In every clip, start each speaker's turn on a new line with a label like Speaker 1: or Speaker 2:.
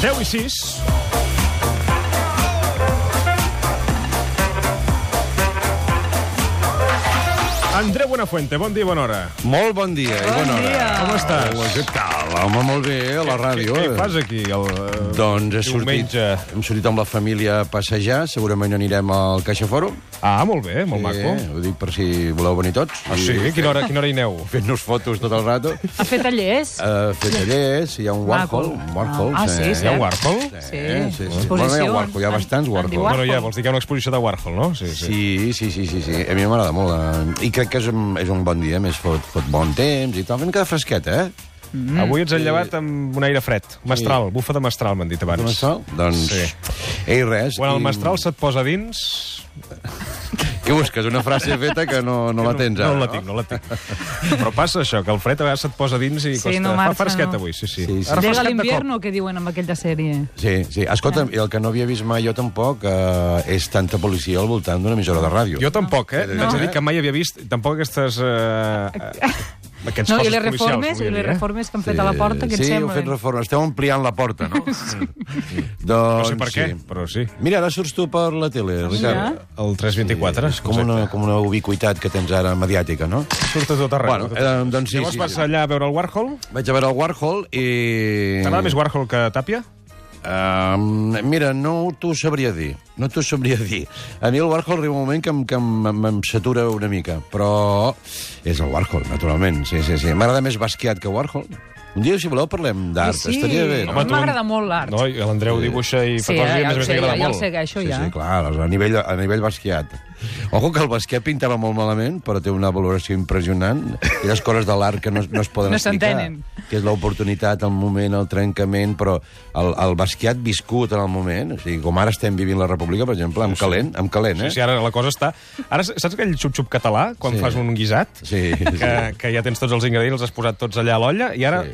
Speaker 1: 10 i 6. Andreu Buenafuente, bon dia i bona hora.
Speaker 2: Molt bon dia i bona hora.
Speaker 1: Com estàs?
Speaker 2: Hola, què tal? Home, molt bé, a la ràdio.
Speaker 1: Què,
Speaker 2: eh?
Speaker 1: què fas aquí? El, eh,
Speaker 2: Doncs he sortit,
Speaker 1: diumenge?
Speaker 2: hem sortit amb la família a passejar, segurament anirem al Caixa Fòrum.
Speaker 1: Ah, molt bé, molt maco.
Speaker 2: Eh, ho dic per si voleu venir tots.
Speaker 1: Ah, sí?
Speaker 2: I
Speaker 1: Quina hora, quina hora hi aneu?
Speaker 2: Fent-nos fotos tot el rato.
Speaker 3: Ha fet tallers?
Speaker 2: Uh, fer tallers, hi ha un
Speaker 3: Maco.
Speaker 2: Warhol. Un Warhol
Speaker 3: Ah, sí,
Speaker 1: Hi ha
Speaker 3: cert.
Speaker 1: Warhol?
Speaker 3: Sí,
Speaker 2: Eh, sí, sí.
Speaker 3: Exposicions.
Speaker 2: Bueno, hi ha Warhol, hi ha bastants Warhol.
Speaker 3: Andy
Speaker 1: Bueno, ja, vols dir que hi ha una exposició de Warhol, no? Sí, sí.
Speaker 2: Sí, sí, sí, sí, sí. A mi m'agrada molt. Eh? I crec que és un, és un bon dia, a més fot, fot bon temps i tal. Una mica de fresqueta, eh?
Speaker 1: Mm. Avui ens han llevat amb un aire fred. Mestral, bufa de mestral, m'han dit abans.
Speaker 2: Com està? Doncs...
Speaker 1: Sí.
Speaker 2: Ei, res.
Speaker 1: Quan el
Speaker 2: i-
Speaker 1: mestral se't posa dins...
Speaker 2: Què busques? Una frase feta que no, no la tens
Speaker 1: no,
Speaker 2: ara,
Speaker 1: no la tinc, no la tinc. Però passa això, que el fred a vegades se't posa dins i
Speaker 3: Sí,
Speaker 1: costa...
Speaker 3: no marxa,
Speaker 1: Fa fresquet
Speaker 3: no.
Speaker 1: avui, sí, sí.
Speaker 2: Sí, sí.
Speaker 1: Ara
Speaker 3: Llega
Speaker 1: fresquet de cop.
Speaker 3: l'invierno, que diuen en aquella sèrie.
Speaker 2: Sí, sí. Escolta'm, i el que no havia vist mai jo tampoc eh, és tanta policia al voltant d'una emissora de ràdio.
Speaker 1: Jo tampoc, eh? No.
Speaker 2: No.
Speaker 1: T'haig de dir que mai havia vist tampoc aquestes... Eh, aquests
Speaker 3: No, i
Speaker 1: cossos
Speaker 3: les
Speaker 1: policials,
Speaker 3: reformes, i
Speaker 1: volia
Speaker 3: les
Speaker 1: dir, eh?
Speaker 3: reformes que han fet a la porta, que
Speaker 2: sí,
Speaker 3: ens
Speaker 2: heu fet
Speaker 3: semblen.
Speaker 2: reforma. Esteu ampliant la porta, no? Sí. Doncs,
Speaker 1: No sé per què,
Speaker 2: sí.
Speaker 1: però sí.
Speaker 2: Mira, ara surts tu per la tele, Ricard.
Speaker 1: El 324.
Speaker 2: És com una, com una ubiquitat que tens ara mediàtica, no?
Speaker 1: Surt a tot arreu.
Speaker 2: Bueno,
Speaker 1: tot
Speaker 2: eh,
Speaker 1: arreu.
Speaker 2: doncs sí,
Speaker 1: Llavors
Speaker 2: sí,
Speaker 1: vas
Speaker 2: sí.
Speaker 1: allà a veure el Warhol?
Speaker 2: Vaig a veure el Warhol i...
Speaker 1: T'agrada més Warhol que Tàpia?
Speaker 2: Um, mira, no t'ho sabria dir. No t'ho sabria dir. A mi el Warhol arriba un moment que, em- que em- em- em satura una mica, però és el Warhol, naturalment. Sí, sí, sí. M'agrada més Basquiat que Warhol. Un dia, si voleu, parlem d'art.
Speaker 3: Sí, sí.
Speaker 2: Estaria bé, no?
Speaker 3: Home, tu- m'agrada molt l'art.
Speaker 1: No, i l'Andreu dibuixa i fa
Speaker 3: Sí,
Speaker 1: coses i
Speaker 3: ja,
Speaker 1: a més
Speaker 3: ja,
Speaker 1: a
Speaker 3: ho
Speaker 1: més
Speaker 3: sé,
Speaker 1: li
Speaker 3: ja,
Speaker 1: agrada
Speaker 3: ja ho
Speaker 1: molt.
Speaker 3: sé, que això
Speaker 2: Sí,
Speaker 3: ja. eh?
Speaker 2: sí, clar, a nivell, a nivell Basquiat. Ojo que el Basquiat pintava molt malament, però té una valoració impressionant. Hi ha coses de l'art que no, es- no es poden
Speaker 3: No
Speaker 2: explicar.
Speaker 3: s'entenen.
Speaker 2: Que és l'oportunitat, el moment, el trencament, però el, el Basquiat viscut en el moment, o sigui, com ara estem vivint la República, per exemple, amb calent, amb calent, eh?
Speaker 1: Sí, sí, ara la cosa està... Ara, saps aquell xup-xup català, quan
Speaker 2: Sí.
Speaker 1: fas un guisat?
Speaker 2: Sí, sí.
Speaker 1: Que, que ja tens tots els ingredients, els has posat tots allà a l'olla, i ara
Speaker 2: Sí.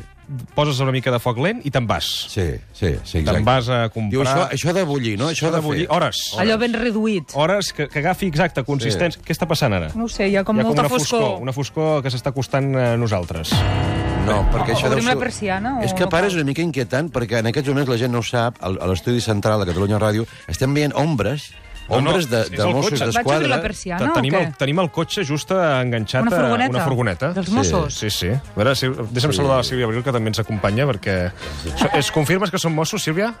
Speaker 1: poses una mica de foc lent i te'n vas.
Speaker 2: sí, sí, sí exacte.
Speaker 1: Te'n vas a comprar...
Speaker 2: Diu, això, això ha de bullir, no? Això, ha de,
Speaker 1: de bullir
Speaker 2: fer.
Speaker 1: hores.
Speaker 3: Allò ben reduït.
Speaker 1: Hores que, que agafi exacte consistència. Què està passant ara?
Speaker 3: No ho sé, hi ha com
Speaker 1: Hi ha com
Speaker 3: molta
Speaker 1: una foscor.
Speaker 3: foscor.
Speaker 1: Una foscor que s'està acostant a nosaltres.
Speaker 2: No, perquè això deu
Speaker 3: obrim
Speaker 2: ser-
Speaker 3: la persiana o
Speaker 2: És que
Speaker 3: no
Speaker 2: para
Speaker 3: cal?
Speaker 2: és una mica inquietant, perquè en aquests moments la gent no ho sap, al- a l'estudi central de Catalunya Ràdio estem veient ombres,
Speaker 1: No, no,
Speaker 2: ombres de,
Speaker 1: és
Speaker 2: de
Speaker 1: el
Speaker 2: Mossos
Speaker 1: cotxe. Vaig
Speaker 3: Vaig obrir
Speaker 2: d'Esquadra...
Speaker 3: la persiana o
Speaker 1: tenim,
Speaker 3: què?
Speaker 1: el, tenim el cotxe just enganxat
Speaker 3: Una
Speaker 1: a
Speaker 3: furgoneta?
Speaker 1: una furgoneta.
Speaker 3: Dels Mossos?
Speaker 1: Sí, sí. A veure, si, deixa'm sí. saludar la Sílvia Abril, que també ens acompanya, perquè... So, es confirmes que són Mossos, Sílvia?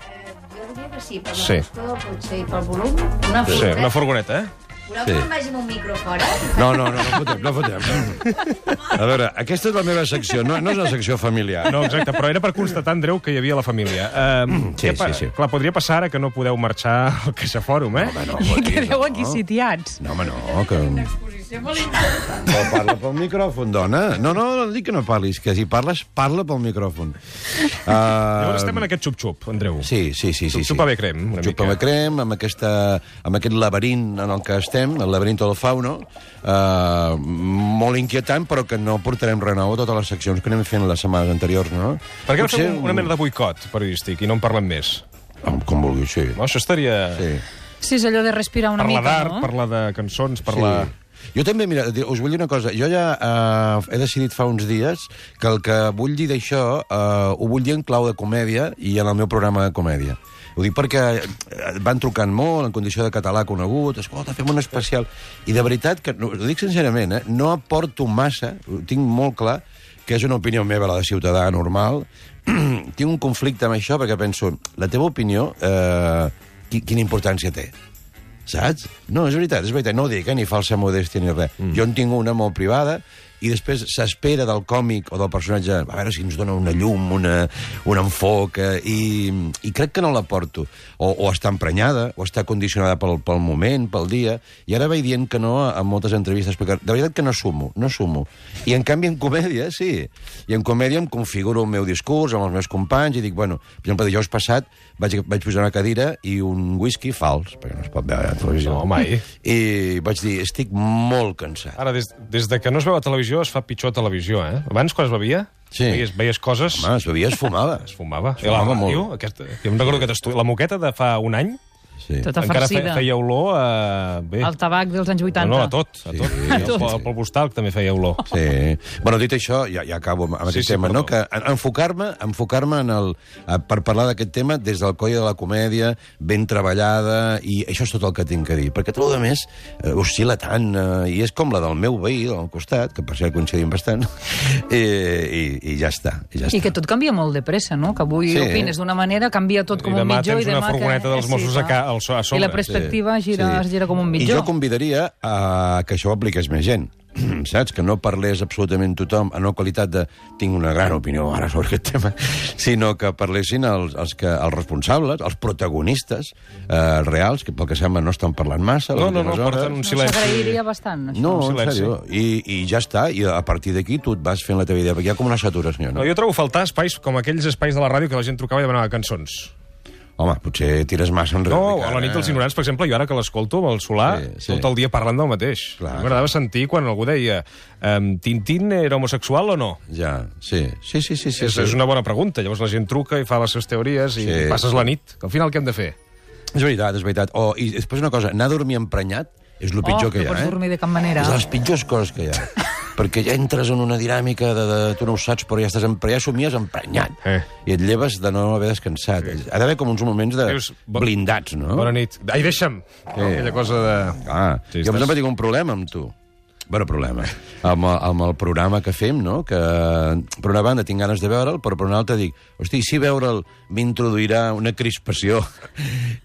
Speaker 4: Jo diria que sí, per
Speaker 1: Sí.
Speaker 4: sí. la foscor, potser i pel volum. Una
Speaker 1: Sí,
Speaker 4: furgoneta.
Speaker 1: una furgoneta, eh?
Speaker 4: Voleu que
Speaker 2: Sí.
Speaker 4: me'n vagi amb un micro fora?
Speaker 2: No, no, no, no fotem, no fotem. A veure, aquesta és la meva secció, no, no és una secció familiar.
Speaker 1: No, exacte, però era per constatar, Andreu, que hi havia la família. Um,
Speaker 2: Mm, sí, sí, sí.
Speaker 1: Clar, podria passar ara que no podeu marxar al Caixa Fòrum, eh?
Speaker 2: Home, no,
Speaker 3: I
Speaker 2: fotis,
Speaker 3: quedeu
Speaker 2: no.
Speaker 3: aquí sitiats.
Speaker 2: No, home, no, que... Però parla pel micròfon, dona. No, no, no dic que no parlis, que si parles, parla pel micròfon. Uh,
Speaker 1: Llavors estem en aquest xup-xup, Andreu.
Speaker 2: Sí, sí, sí. sí, sí.
Speaker 1: Xupa bé crem, una
Speaker 2: Xupa
Speaker 1: mica.
Speaker 2: bé crem, amb, aquesta, amb aquest laberint en el que estem, el laberint del fauno, eh, molt inquietant, però que no portarem res nou a totes les seccions que anem fent les setmanes anteriors, no?
Speaker 1: Per què no fem una mena de boicot periodístic i no en parlem més?
Speaker 2: Com, com vulgui, sí.
Speaker 1: No, això estaria...
Speaker 2: sí.
Speaker 3: Sí, és allò de respirar una
Speaker 1: Parlar
Speaker 3: mica,
Speaker 1: d'art,
Speaker 3: no?
Speaker 1: parlar de cançons, parlar...
Speaker 2: Sí. Jo també, mira, di- us vull dir una cosa. Jo ja eh, he decidit fa uns dies que el que vull dir d'això eh, ho vull dir en clau de comèdia i en el meu programa de comèdia. Ho dic perquè eh, van trucant molt, en condició de català conegut, escolta, fem un especial... I de veritat, que no, ho dic sincerament, eh, no aporto massa, ho tinc molt clar, que és una opinió meva, la de ciutadà normal. tinc un conflicte amb això perquè penso, la teva opinió, eh, qui- quina importància té? Saps? No, és veritat, és veritat. No ho dic, eh, ni falsa modèstia ni res. Mm. Jo en tinc una molt privada i després s'espera del còmic o del personatge a veure si ens dona una llum, una, un enfoc, eh, i, i crec que no la porto. O, o està emprenyada, o està condicionada pel, pel moment, pel dia, i ara vaig dient que no a, a moltes entrevistes, perquè de veritat que no sumo, no sumo. I en canvi en comèdia, sí. I en comèdia em configuro el meu discurs amb els meus companys i dic, bueno, per exemple, dijous passat vaig, vaig posar una cadira i un whisky fals, perquè no es pot veure a la televisió.
Speaker 1: No, mai.
Speaker 2: I vaig dir, estic molt cansat.
Speaker 1: Ara, des, des de que no es veu a televisió, es fa pitjor a televisió, eh? Abans, quan es bevia,
Speaker 2: Sí.
Speaker 1: veies, veies coses...
Speaker 2: Home, es bevia, es fumava.
Speaker 1: Es fumava.
Speaker 2: Es fumava
Speaker 1: I la ràdio,
Speaker 2: molt.
Speaker 1: Aquesta, jo em recordo que t'estudi... La moqueta de fa un any
Speaker 2: Sí.
Speaker 3: Tota
Speaker 1: Encara fe,
Speaker 3: farcida.
Speaker 1: feia olor a... Bé,
Speaker 3: El tabac dels anys 80.
Speaker 1: no, no, a tot. A
Speaker 2: Sí,
Speaker 1: tot.
Speaker 2: sí,
Speaker 1: El,
Speaker 2: sí.
Speaker 1: po- el polvo talc també feia olor.
Speaker 2: Sí. Bueno, dit això, ja, ja acabo amb amb
Speaker 1: Sí,
Speaker 2: aquest
Speaker 1: sí,
Speaker 2: tema, no? Que
Speaker 1: perdó.
Speaker 2: en- enfocar-me enfocar en el, eh, per parlar d'aquest tema des del coll de la comèdia, ben treballada, i això és tot el que tinc que dir. Perquè tot el més eh, oscil·la tant, eh, i és com la del meu veí del costat, que per cert coincidim bastant, i, i, i ja està. I, ja
Speaker 3: I
Speaker 2: està.
Speaker 3: que tot canvia molt de pressa, no? Que avui
Speaker 2: Sí.
Speaker 3: sí. opines d'una manera, canvia tot com
Speaker 1: I
Speaker 3: un
Speaker 1: demà
Speaker 3: mitjó...
Speaker 1: tens una furgoneta dels Mossos a ca- al so- a sobre.
Speaker 3: eh, I la perspectiva sí. gira, sí. es gira com un
Speaker 2: I
Speaker 3: mitjó.
Speaker 2: jo convidaria a que això ho apliqués més gent. Saps? Que no parlés absolutament tothom en una qualitat de tinc una gran opinió ara sobre aquest tema, sinó que parlessin els, els, que, els responsables, els protagonistes eh, reals, que pel que sembla no estan parlant massa. les
Speaker 1: No, no, no,
Speaker 2: últimes hores.
Speaker 1: porten un
Speaker 3: No,
Speaker 1: silenci.
Speaker 3: S'agrairia bastant, això.
Speaker 2: No,
Speaker 1: un
Speaker 2: en
Speaker 1: silenci.
Speaker 2: sèrio. I, I ja està. I a partir d'aquí tu et vas fent la teva idea, perquè hi ha com una saturació,
Speaker 1: No,
Speaker 2: no?
Speaker 1: jo trobo faltar espais com aquells espais de la ràdio que la gent trucava i demanava cançons.
Speaker 2: Home, potser tires massa enrere.
Speaker 1: No,
Speaker 2: Ricard,
Speaker 1: a la nit
Speaker 2: eh?
Speaker 1: dels ignorants, per exemple, jo ara que l'escolto amb el Solà,
Speaker 2: Sí,
Speaker 1: sí,
Speaker 2: sí.
Speaker 1: sí. tot el dia parlant del mateix.
Speaker 2: Clar.
Speaker 1: M'agradava sentir quan algú deia um, Tintín era homosexual o no?
Speaker 2: Ja, sí. Sí, sí, sí. sí,
Speaker 1: És,
Speaker 2: sí.
Speaker 1: és una bona pregunta. Llavors la gent truca i fa les seves teories i
Speaker 2: Sí.
Speaker 1: sí. passes la nit. Que al final què hem de fer?
Speaker 2: És veritat, és veritat. Oh, I després una cosa, anar a dormir emprenyat és el pitjor
Speaker 3: oh,
Speaker 2: que hi
Speaker 3: no
Speaker 2: ha,
Speaker 3: pots
Speaker 2: eh?
Speaker 3: dormir de cap manera.
Speaker 2: És de les pitjors coses que hi ha. perquè ja entres en una dinàmica de, de, tu no ho saps, però ja estàs emprenyat, ja somies emprenyat.
Speaker 1: Eh.
Speaker 2: I et lleves de no haver descansat. Ha d'haver com uns moments de
Speaker 1: Dius, bo-
Speaker 2: blindats, no?
Speaker 1: No? Bona nit. Ai, deixa'm! No, aquella cosa de...
Speaker 2: Ah,
Speaker 1: Sí,
Speaker 2: jo, per
Speaker 1: estàs-
Speaker 2: exemple, tinc un problema amb tu. Bueno, problema. Amb, el- amb el programa que fem, no? Que, per una banda, tinc ganes de veure'l, però per una altra dic, hosti, si veure'l m'introduirà una crispació.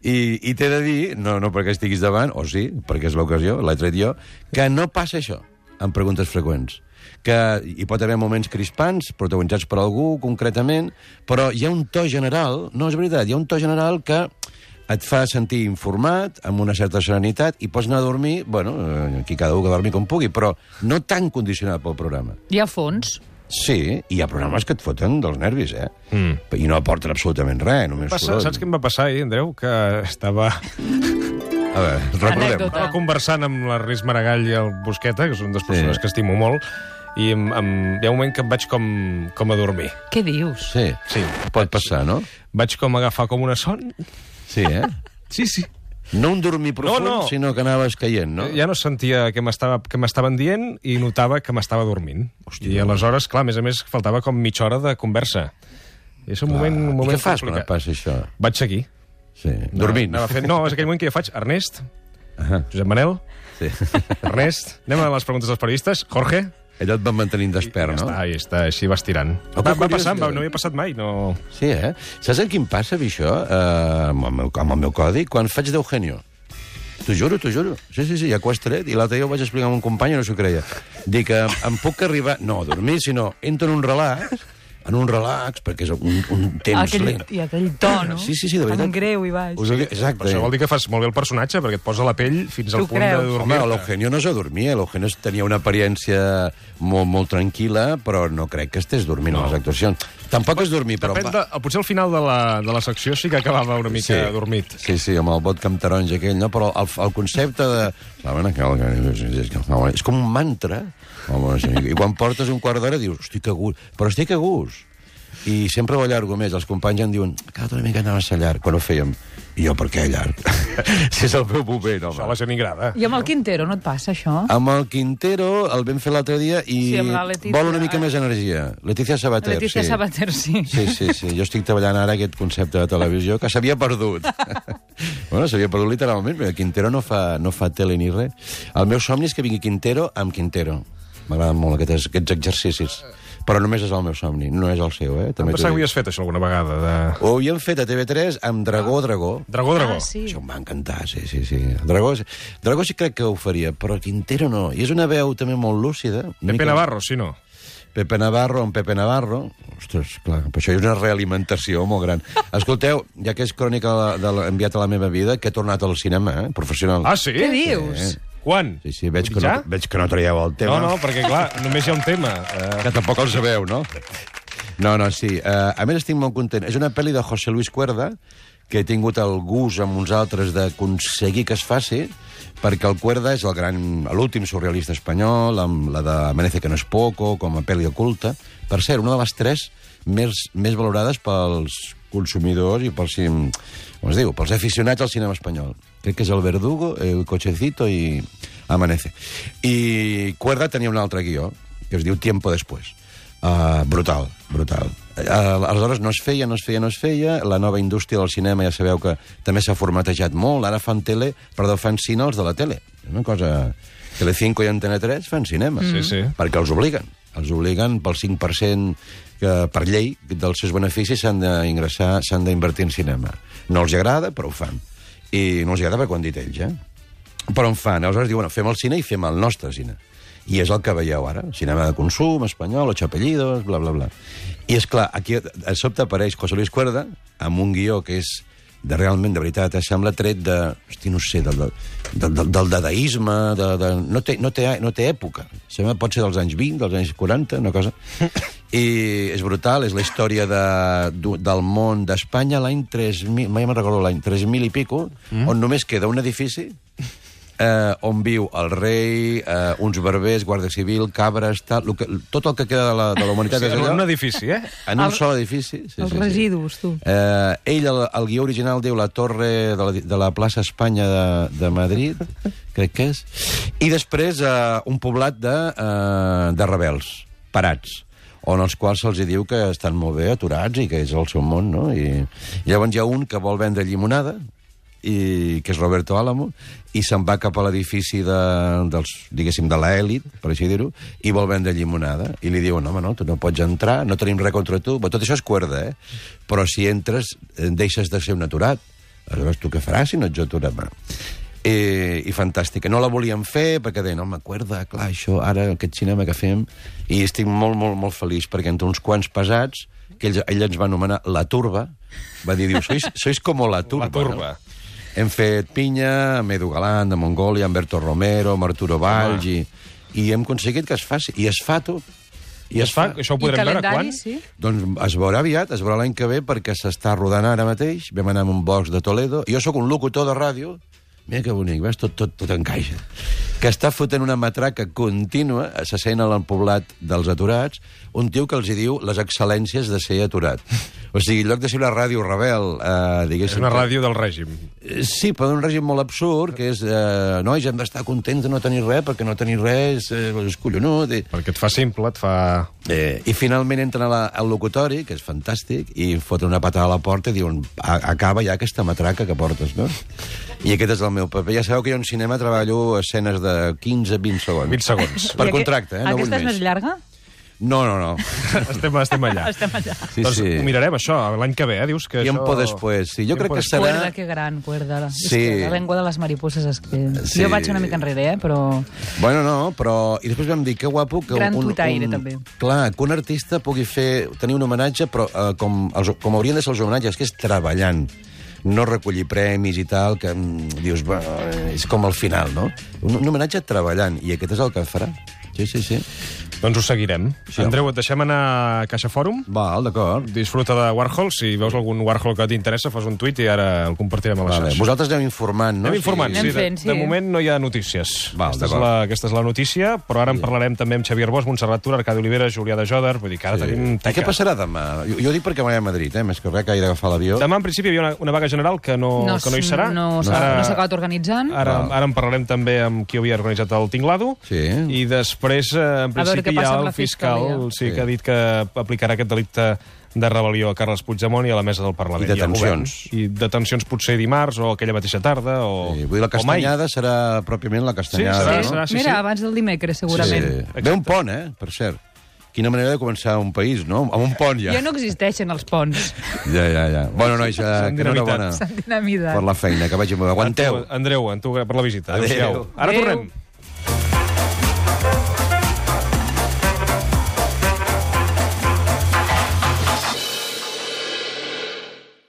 Speaker 2: I, i t'he de dir, no, no perquè estiguis davant, o sí, perquè és l'ocasió, l'he tret jo, que no passa això amb preguntes freqüents que hi pot haver moments crispants, protagonitzats per algú, concretament, però hi ha un to general, no és veritat, hi ha un to general que et fa sentir informat, amb una certa serenitat, i pots anar a dormir, bueno, eh, aquí cada un que dormi com pugui, però no tan condicionat pel programa.
Speaker 3: Hi ha fons.
Speaker 2: Sí, hi ha programes que et foten dels nervis, eh? Mm. I no aporten absolutament res, només
Speaker 1: Passa, saps què em va passar ahir, Andreu? Que estava
Speaker 2: A veure, recordem.
Speaker 3: Anècdota.
Speaker 1: estava conversant amb l'Ernest Maragall i el Busqueta, que són dues persones
Speaker 2: Sí.
Speaker 1: que estimo molt, i em, em, hi ha un moment que em vaig com, com a dormir.
Speaker 3: Què dius?
Speaker 2: Sí,
Speaker 1: Sí.
Speaker 2: pot passar, no?
Speaker 1: Vaig com agafar com una son.
Speaker 2: Sí, eh?
Speaker 1: Sí, sí.
Speaker 2: No un dormir profund,
Speaker 1: no.
Speaker 2: sinó que anaves caient, no?
Speaker 1: No? Ja no sentia què m'estava- què m'estaven dient i notava que m'estava dormint. Hòstia. I aleshores, clar, a més a més, faltava com mitja hora de conversa. I és un moment, un moment
Speaker 2: Ah, I què fas quan
Speaker 1: complicat.
Speaker 2: et passa això?
Speaker 1: Vaig seguir.
Speaker 2: Sí. Dormint.
Speaker 1: Anava fent... No, és aquell moment que jo faig Ernest,
Speaker 2: Ahà.
Speaker 1: Josep Manel,
Speaker 2: Sí.
Speaker 1: Ernest, anem a les preguntes dels periodistes, Jorge,
Speaker 2: Allò et va mantenint despert,
Speaker 1: ja
Speaker 2: no?
Speaker 1: està, ja està, així vas tirant.
Speaker 2: Oh, que
Speaker 1: va, va
Speaker 2: curiós,
Speaker 1: passant, va,
Speaker 2: que-
Speaker 1: no havia passat mai, no...
Speaker 2: Sí, eh? Saps amb qui em passa, a mi, això? Eh, amb, el meu, amb el meu codi? Quan faig d'Eugenio. T'ho juro, t'ho juro. Sí, sí, sí, ja que ho has tret. I l'altre dia ho vaig explicar a un company i no s'ho creia. Dic, eh, em puc arribar... No, a dormir, sinó entro en un relax, en un relax, perquè és un, un temps
Speaker 3: Aquell,
Speaker 2: lent.
Speaker 3: I aquell to, no?
Speaker 2: Sí, sí, sí, de veritat.
Speaker 3: Tan greu i baix.
Speaker 2: Us ho dic- Exacte.
Speaker 1: Però això vol dir que fas molt bé el personatge, perquè et posa la pell fins al
Speaker 3: Tu
Speaker 1: punt
Speaker 3: creus?
Speaker 1: de dormir.
Speaker 2: Home, l'Eugenio no s'adormia, l'Eugenio tenia una apariència molt, molt tranquil·la, però no crec que estés dormint no. a les actuacions. Tampoc és dormir, però... em
Speaker 1: Depèn
Speaker 2: va-
Speaker 1: de, potser al final de la, de la secció sí que acabava una mica sí. dormit.
Speaker 2: Sí, sí, amb el vodka amb taronja aquell, no? Però el, el concepte de... Ah, Saben aquel que- És com un mantra. I quan portes un quart d'hora dius, estic a gust, però estic a gust. I sempre ho allargo més. Els companys em diuen, cada una mica anaves a llarg, quan ho fèiem. I jo, per què llarg? si és el meu moment,
Speaker 1: Això a la
Speaker 2: home.
Speaker 1: gent li agrada.
Speaker 3: I amb el Quintero no et passa, això?
Speaker 2: Amb el Quintero el vam fer l'altre dia i
Speaker 3: Sí, amb la Letizia.
Speaker 2: vol una mica més energia. Letícia Sabater,
Speaker 3: Letícia
Speaker 2: sí.
Speaker 3: Sabater, sí.
Speaker 2: Sí, sí, sí. Jo estic treballant ara aquest concepte de televisió que s'havia perdut. bueno, s'havia perdut literalment, perquè Quintero no fa, no fa tele ni res. El meu somni és que vingui Quintero amb Quintero. M'agraden molt aquests, aquests exercicis. Però només és el meu somni, no és el seu, eh? També
Speaker 1: Em
Speaker 2: t'ho
Speaker 1: pensava que
Speaker 2: dic.
Speaker 1: havies fet això alguna vegada. De...
Speaker 2: Ho havíem fet a TV3 amb Dragó, Dragó.
Speaker 1: Dragó, dragó.
Speaker 3: Ah, sí.
Speaker 2: Això em va encantar, sí, sí, sí. Dragó, sí- Dragó sí crec que ho faria, però Quintero no. I és una veu també molt lúcida. una
Speaker 1: Pepe
Speaker 2: mica-
Speaker 1: Navarro, sí, no?
Speaker 2: Pepe Navarro amb Pepe Navarro. Ostres, clar, però això és una realimentació molt gran. Escolteu, ja que és crònica de- de l'ha enviat a la meva vida, que he tornat al cinema, eh? professional.
Speaker 1: Ah, sí?
Speaker 3: Què dius?
Speaker 2: Eh.
Speaker 1: Quan?
Speaker 2: Sí, sí, veig que,
Speaker 1: Ja?
Speaker 2: no, veig que no traieu el tema.
Speaker 1: No, no, perquè, clar, només hi ha un tema. Eh,
Speaker 2: Que tampoc el sabeu, no? No, no, sí. Uh, a més, estic molt content. És una pel·li de José Luis Cuerda, que he tingut el gust amb uns altres d'aconseguir que es faci, perquè el Cuerda és el gran, l'últim surrealista espanyol, amb la de Amanece que no es poco, com a pel·li oculta. Per cert, una de les tres més, més valorades pels consumidors i pels, cin- com es diu, pels aficionats al cinema espanyol. Crec que és el Verdugo, el Cochecito i Amanece. I Cuerda tenia un altre guió, que es diu Tiempo Después. Uh, brutal, brutal. Uh, aleshores no es feia, no es feia, no es feia. La nova indústria del cinema ja sabeu que també s'ha formatejat molt. Ara fan tele, perdó, fan cine els de la tele. És una cosa... Telecinco i Antena 3 fan cinema.
Speaker 1: Sí, sí.
Speaker 2: Perquè els obliguen. Els obliguen pel 5% que per llei dels seus beneficis s'han d'ingressar, s'han d'invertir en cinema. No els agrada, però ho fan. I no els agrada perquè ho han dit ells, eh? Però en fan. Aleshores diuen, bueno, fem el cine i fem el nostre cine. I és el que veieu ara. Cinema de consum, espanyol, los chapellidos, bla, bla, bla. I és clar, aquí de sobte apareix José Luis Cuerda amb un guió que és de realment, de veritat, eh, sembla tret de... Hosti, no sé, del, del, del, del dadaïsme, de, de, no, té, no, té, no té època. Sembla pot ser dels anys 20, dels anys 40, una cosa. I és brutal, és la història de, du- del món d'Espanya l'any 3.000, mai me'n recordo l'any, 3.000 i pico, mm. on només queda un edifici eh, on viu el rei, eh, uns barbers, guàrdia civil, cabres, tal, lo que, tot el que queda de la, de la humanitat
Speaker 1: Sí,
Speaker 2: és
Speaker 1: en
Speaker 2: allò,
Speaker 1: un edifici, eh?
Speaker 2: en un
Speaker 3: El-
Speaker 2: sol edifici. Sí,
Speaker 3: Els
Speaker 2: sí, sí.
Speaker 3: residus, tu.
Speaker 2: Eh, ell, el, el guió original, diu la torre de la, de la plaça Espanya de, de Madrid, crec que és, i després eh, un poblat de, eh, de rebels, parats, on els quals se'ls hi diu que estan molt bé aturats i que és el seu món, no? I, i llavors hi ha un que vol vendre llimonada, i, que és Roberto Álamo, i se'n va cap a l'edifici de, dels, diguéssim, de l'èlit, per així dir-ho, i vol vendre llimonada. I li diuen, home, no, tu no pots entrar, no tenim res contra tu, però tot això és cuerda, eh? Però si entres, eh, deixes de ser un aturat. Aleshores, tu què faràs si no ets aturat? Va. I, i fantàstica. No la volíem fer perquè deien, home, cuerda, clar, això, ara aquest cinema que fem... I estic molt, molt, molt feliç perquè entre uns quants pesats, que ell, ell ens va anomenar la turba, va dir, diu, sois, sois com la turba.
Speaker 1: La turba.
Speaker 2: No? Hem fet Pinya, Medu Galán, de Mongòlia, Humberto Romero, amb Arturo Valls, i, i hem aconseguit que es faci. I es fa, tu.
Speaker 1: I es fa, això ho
Speaker 3: I
Speaker 1: podrem veure quan?
Speaker 3: calendari, sí.
Speaker 2: Doncs es veurà aviat, es veurà l'any que ve, perquè s'està rodant ara mateix. Vam anar a un box de Toledo. Jo sóc un locutor de ràdio. Mira que bonic, veus? Tot, tot, tot encaixa. Que està fotent una matraca contínua, se sent al poblat dels aturats, un tio que els hi diu les excel·lències de ser aturat. O sigui, en lloc de ser una ràdio rebel, eh,
Speaker 1: És
Speaker 2: diguéssim...
Speaker 1: una
Speaker 2: que-
Speaker 1: ràdio del règim.
Speaker 2: Eh, Sí, però d'un règim molt absurd, que és, eh, nois, hem d'estar contents de no tenir res, perquè no tenir res eh, és collonut. I,
Speaker 1: Perquè et fa simple, et fa...
Speaker 2: eh, I finalment entren a la, al locutori, que és fantàstic, i foten una patada a la porta i diuen, "A- acaba ja aquesta matraca que portes, no? I aquest és el meu paper. Ja sabeu que jo en cinema treballo escenes de 15-20 segons.
Speaker 1: 20 segons.
Speaker 2: Per
Speaker 3: I aqu-
Speaker 2: contracte, eh? No vull
Speaker 3: Aquesta és
Speaker 2: més.
Speaker 3: més llarga?
Speaker 2: No, no, no.
Speaker 1: estem, estem allà.
Speaker 3: Estem allà.
Speaker 2: Sí,
Speaker 1: doncs
Speaker 2: sí.
Speaker 1: ho mirarem, això, l'any que ve, eh? Dius que
Speaker 2: Tiempo
Speaker 1: això...
Speaker 2: después, sí. Jo crec
Speaker 1: Tiempo
Speaker 2: que
Speaker 1: después.
Speaker 2: Serà-
Speaker 3: Cuerda, que gran, cuerda. És
Speaker 2: Sí.
Speaker 3: que La llengua de les mariposas es que...
Speaker 2: Sí.
Speaker 3: Jo vaig una mica enrere, eh, però...
Speaker 2: Bueno, no, però... I després vam dir, que guapo... Que
Speaker 3: Gran tuitaire, també.
Speaker 2: Clar, que un artista pugui fer, tenir un homenatge, però eh, com, els, com haurien de ser els homenatges, que és treballant, no recollir premis i tal, que mm, dius, va, és com el final, no? Un, un homenatge treballant, i aquest és el que farà. Sí, sí, sí.
Speaker 1: Doncs ho seguirem. Andreu, et deixem anar a Caixa Fòrum?
Speaker 2: Val, d'acord.
Speaker 1: Disfruta de Warhol. Si veus algun Warhol que t'interessa, fas un tuit i ara el compartirem a la
Speaker 2: Vale.
Speaker 1: xarxa.
Speaker 2: Vosaltres aneu informant, no?
Speaker 1: Anem informant,
Speaker 3: Anem
Speaker 1: sí. De,
Speaker 3: fent, sí.
Speaker 1: de moment no hi ha notícies.
Speaker 2: Val,
Speaker 1: aquesta, és
Speaker 2: d'acord.
Speaker 1: la, aquesta és la notícia, però ara en parlarem també amb Xavier Bosch, Montserrat Tura, Arcadi Olivera, Julià de Joder, vull dir que ara sí. tenim
Speaker 2: I què
Speaker 1: teca.
Speaker 2: passarà demà? Jo, jo ho dic perquè vaig a Madrid, eh? Més que res que he d'agafar l'avió.
Speaker 1: Demà, en principi, hi havia una, una vaga general que no, que no hi
Speaker 3: s-
Speaker 1: serà. Ah.
Speaker 3: No, s'ha-
Speaker 1: Ara-
Speaker 3: no s'ha acabat organitzant.
Speaker 1: Ara, ara en parlarem també amb qui havia organitzat el Tinglado.
Speaker 2: Sí.
Speaker 1: I després, eh, en
Speaker 3: veure
Speaker 1: principi,
Speaker 3: què
Speaker 1: hi
Speaker 3: passa
Speaker 1: ha
Speaker 3: amb
Speaker 1: el
Speaker 3: la
Speaker 1: fiscal
Speaker 3: fiscalia.
Speaker 1: sí,
Speaker 2: Sí.
Speaker 1: que ha dit que aplicarà aquest delicte de rebel·lió a Carles Puigdemont i a la mesa del Parlament.
Speaker 2: I
Speaker 1: al govern.
Speaker 2: detencions.
Speaker 1: I detencions potser dimarts o aquella mateixa tarda o,
Speaker 2: Sí, Eh, vull dir, la
Speaker 1: o mai.
Speaker 2: castanyada serà pròpiament la castanyada,
Speaker 1: serà-
Speaker 2: no?
Speaker 1: serà- sí,
Speaker 3: Mira,
Speaker 1: sí.
Speaker 3: abans del dimecres, segurament.
Speaker 2: Sí. Ve un pont, eh, per cert. Quina manera de començar un país, no? Amb un pont, ja.
Speaker 3: Ja no existeixen els ponts.
Speaker 2: Ja, ja, ja. Bueno, nois, eh,
Speaker 1: S'han
Speaker 2: que enhorabona
Speaker 1: dinamitat.
Speaker 3: S'han
Speaker 2: per
Speaker 3: dinamitat.
Speaker 2: la feina, que vagi molt bé. Aguanteu.
Speaker 1: Andreu, Andreu, en tu per la visita.
Speaker 2: Adéu.
Speaker 1: Adéu. Ara
Speaker 3: Adéu.
Speaker 1: tornem.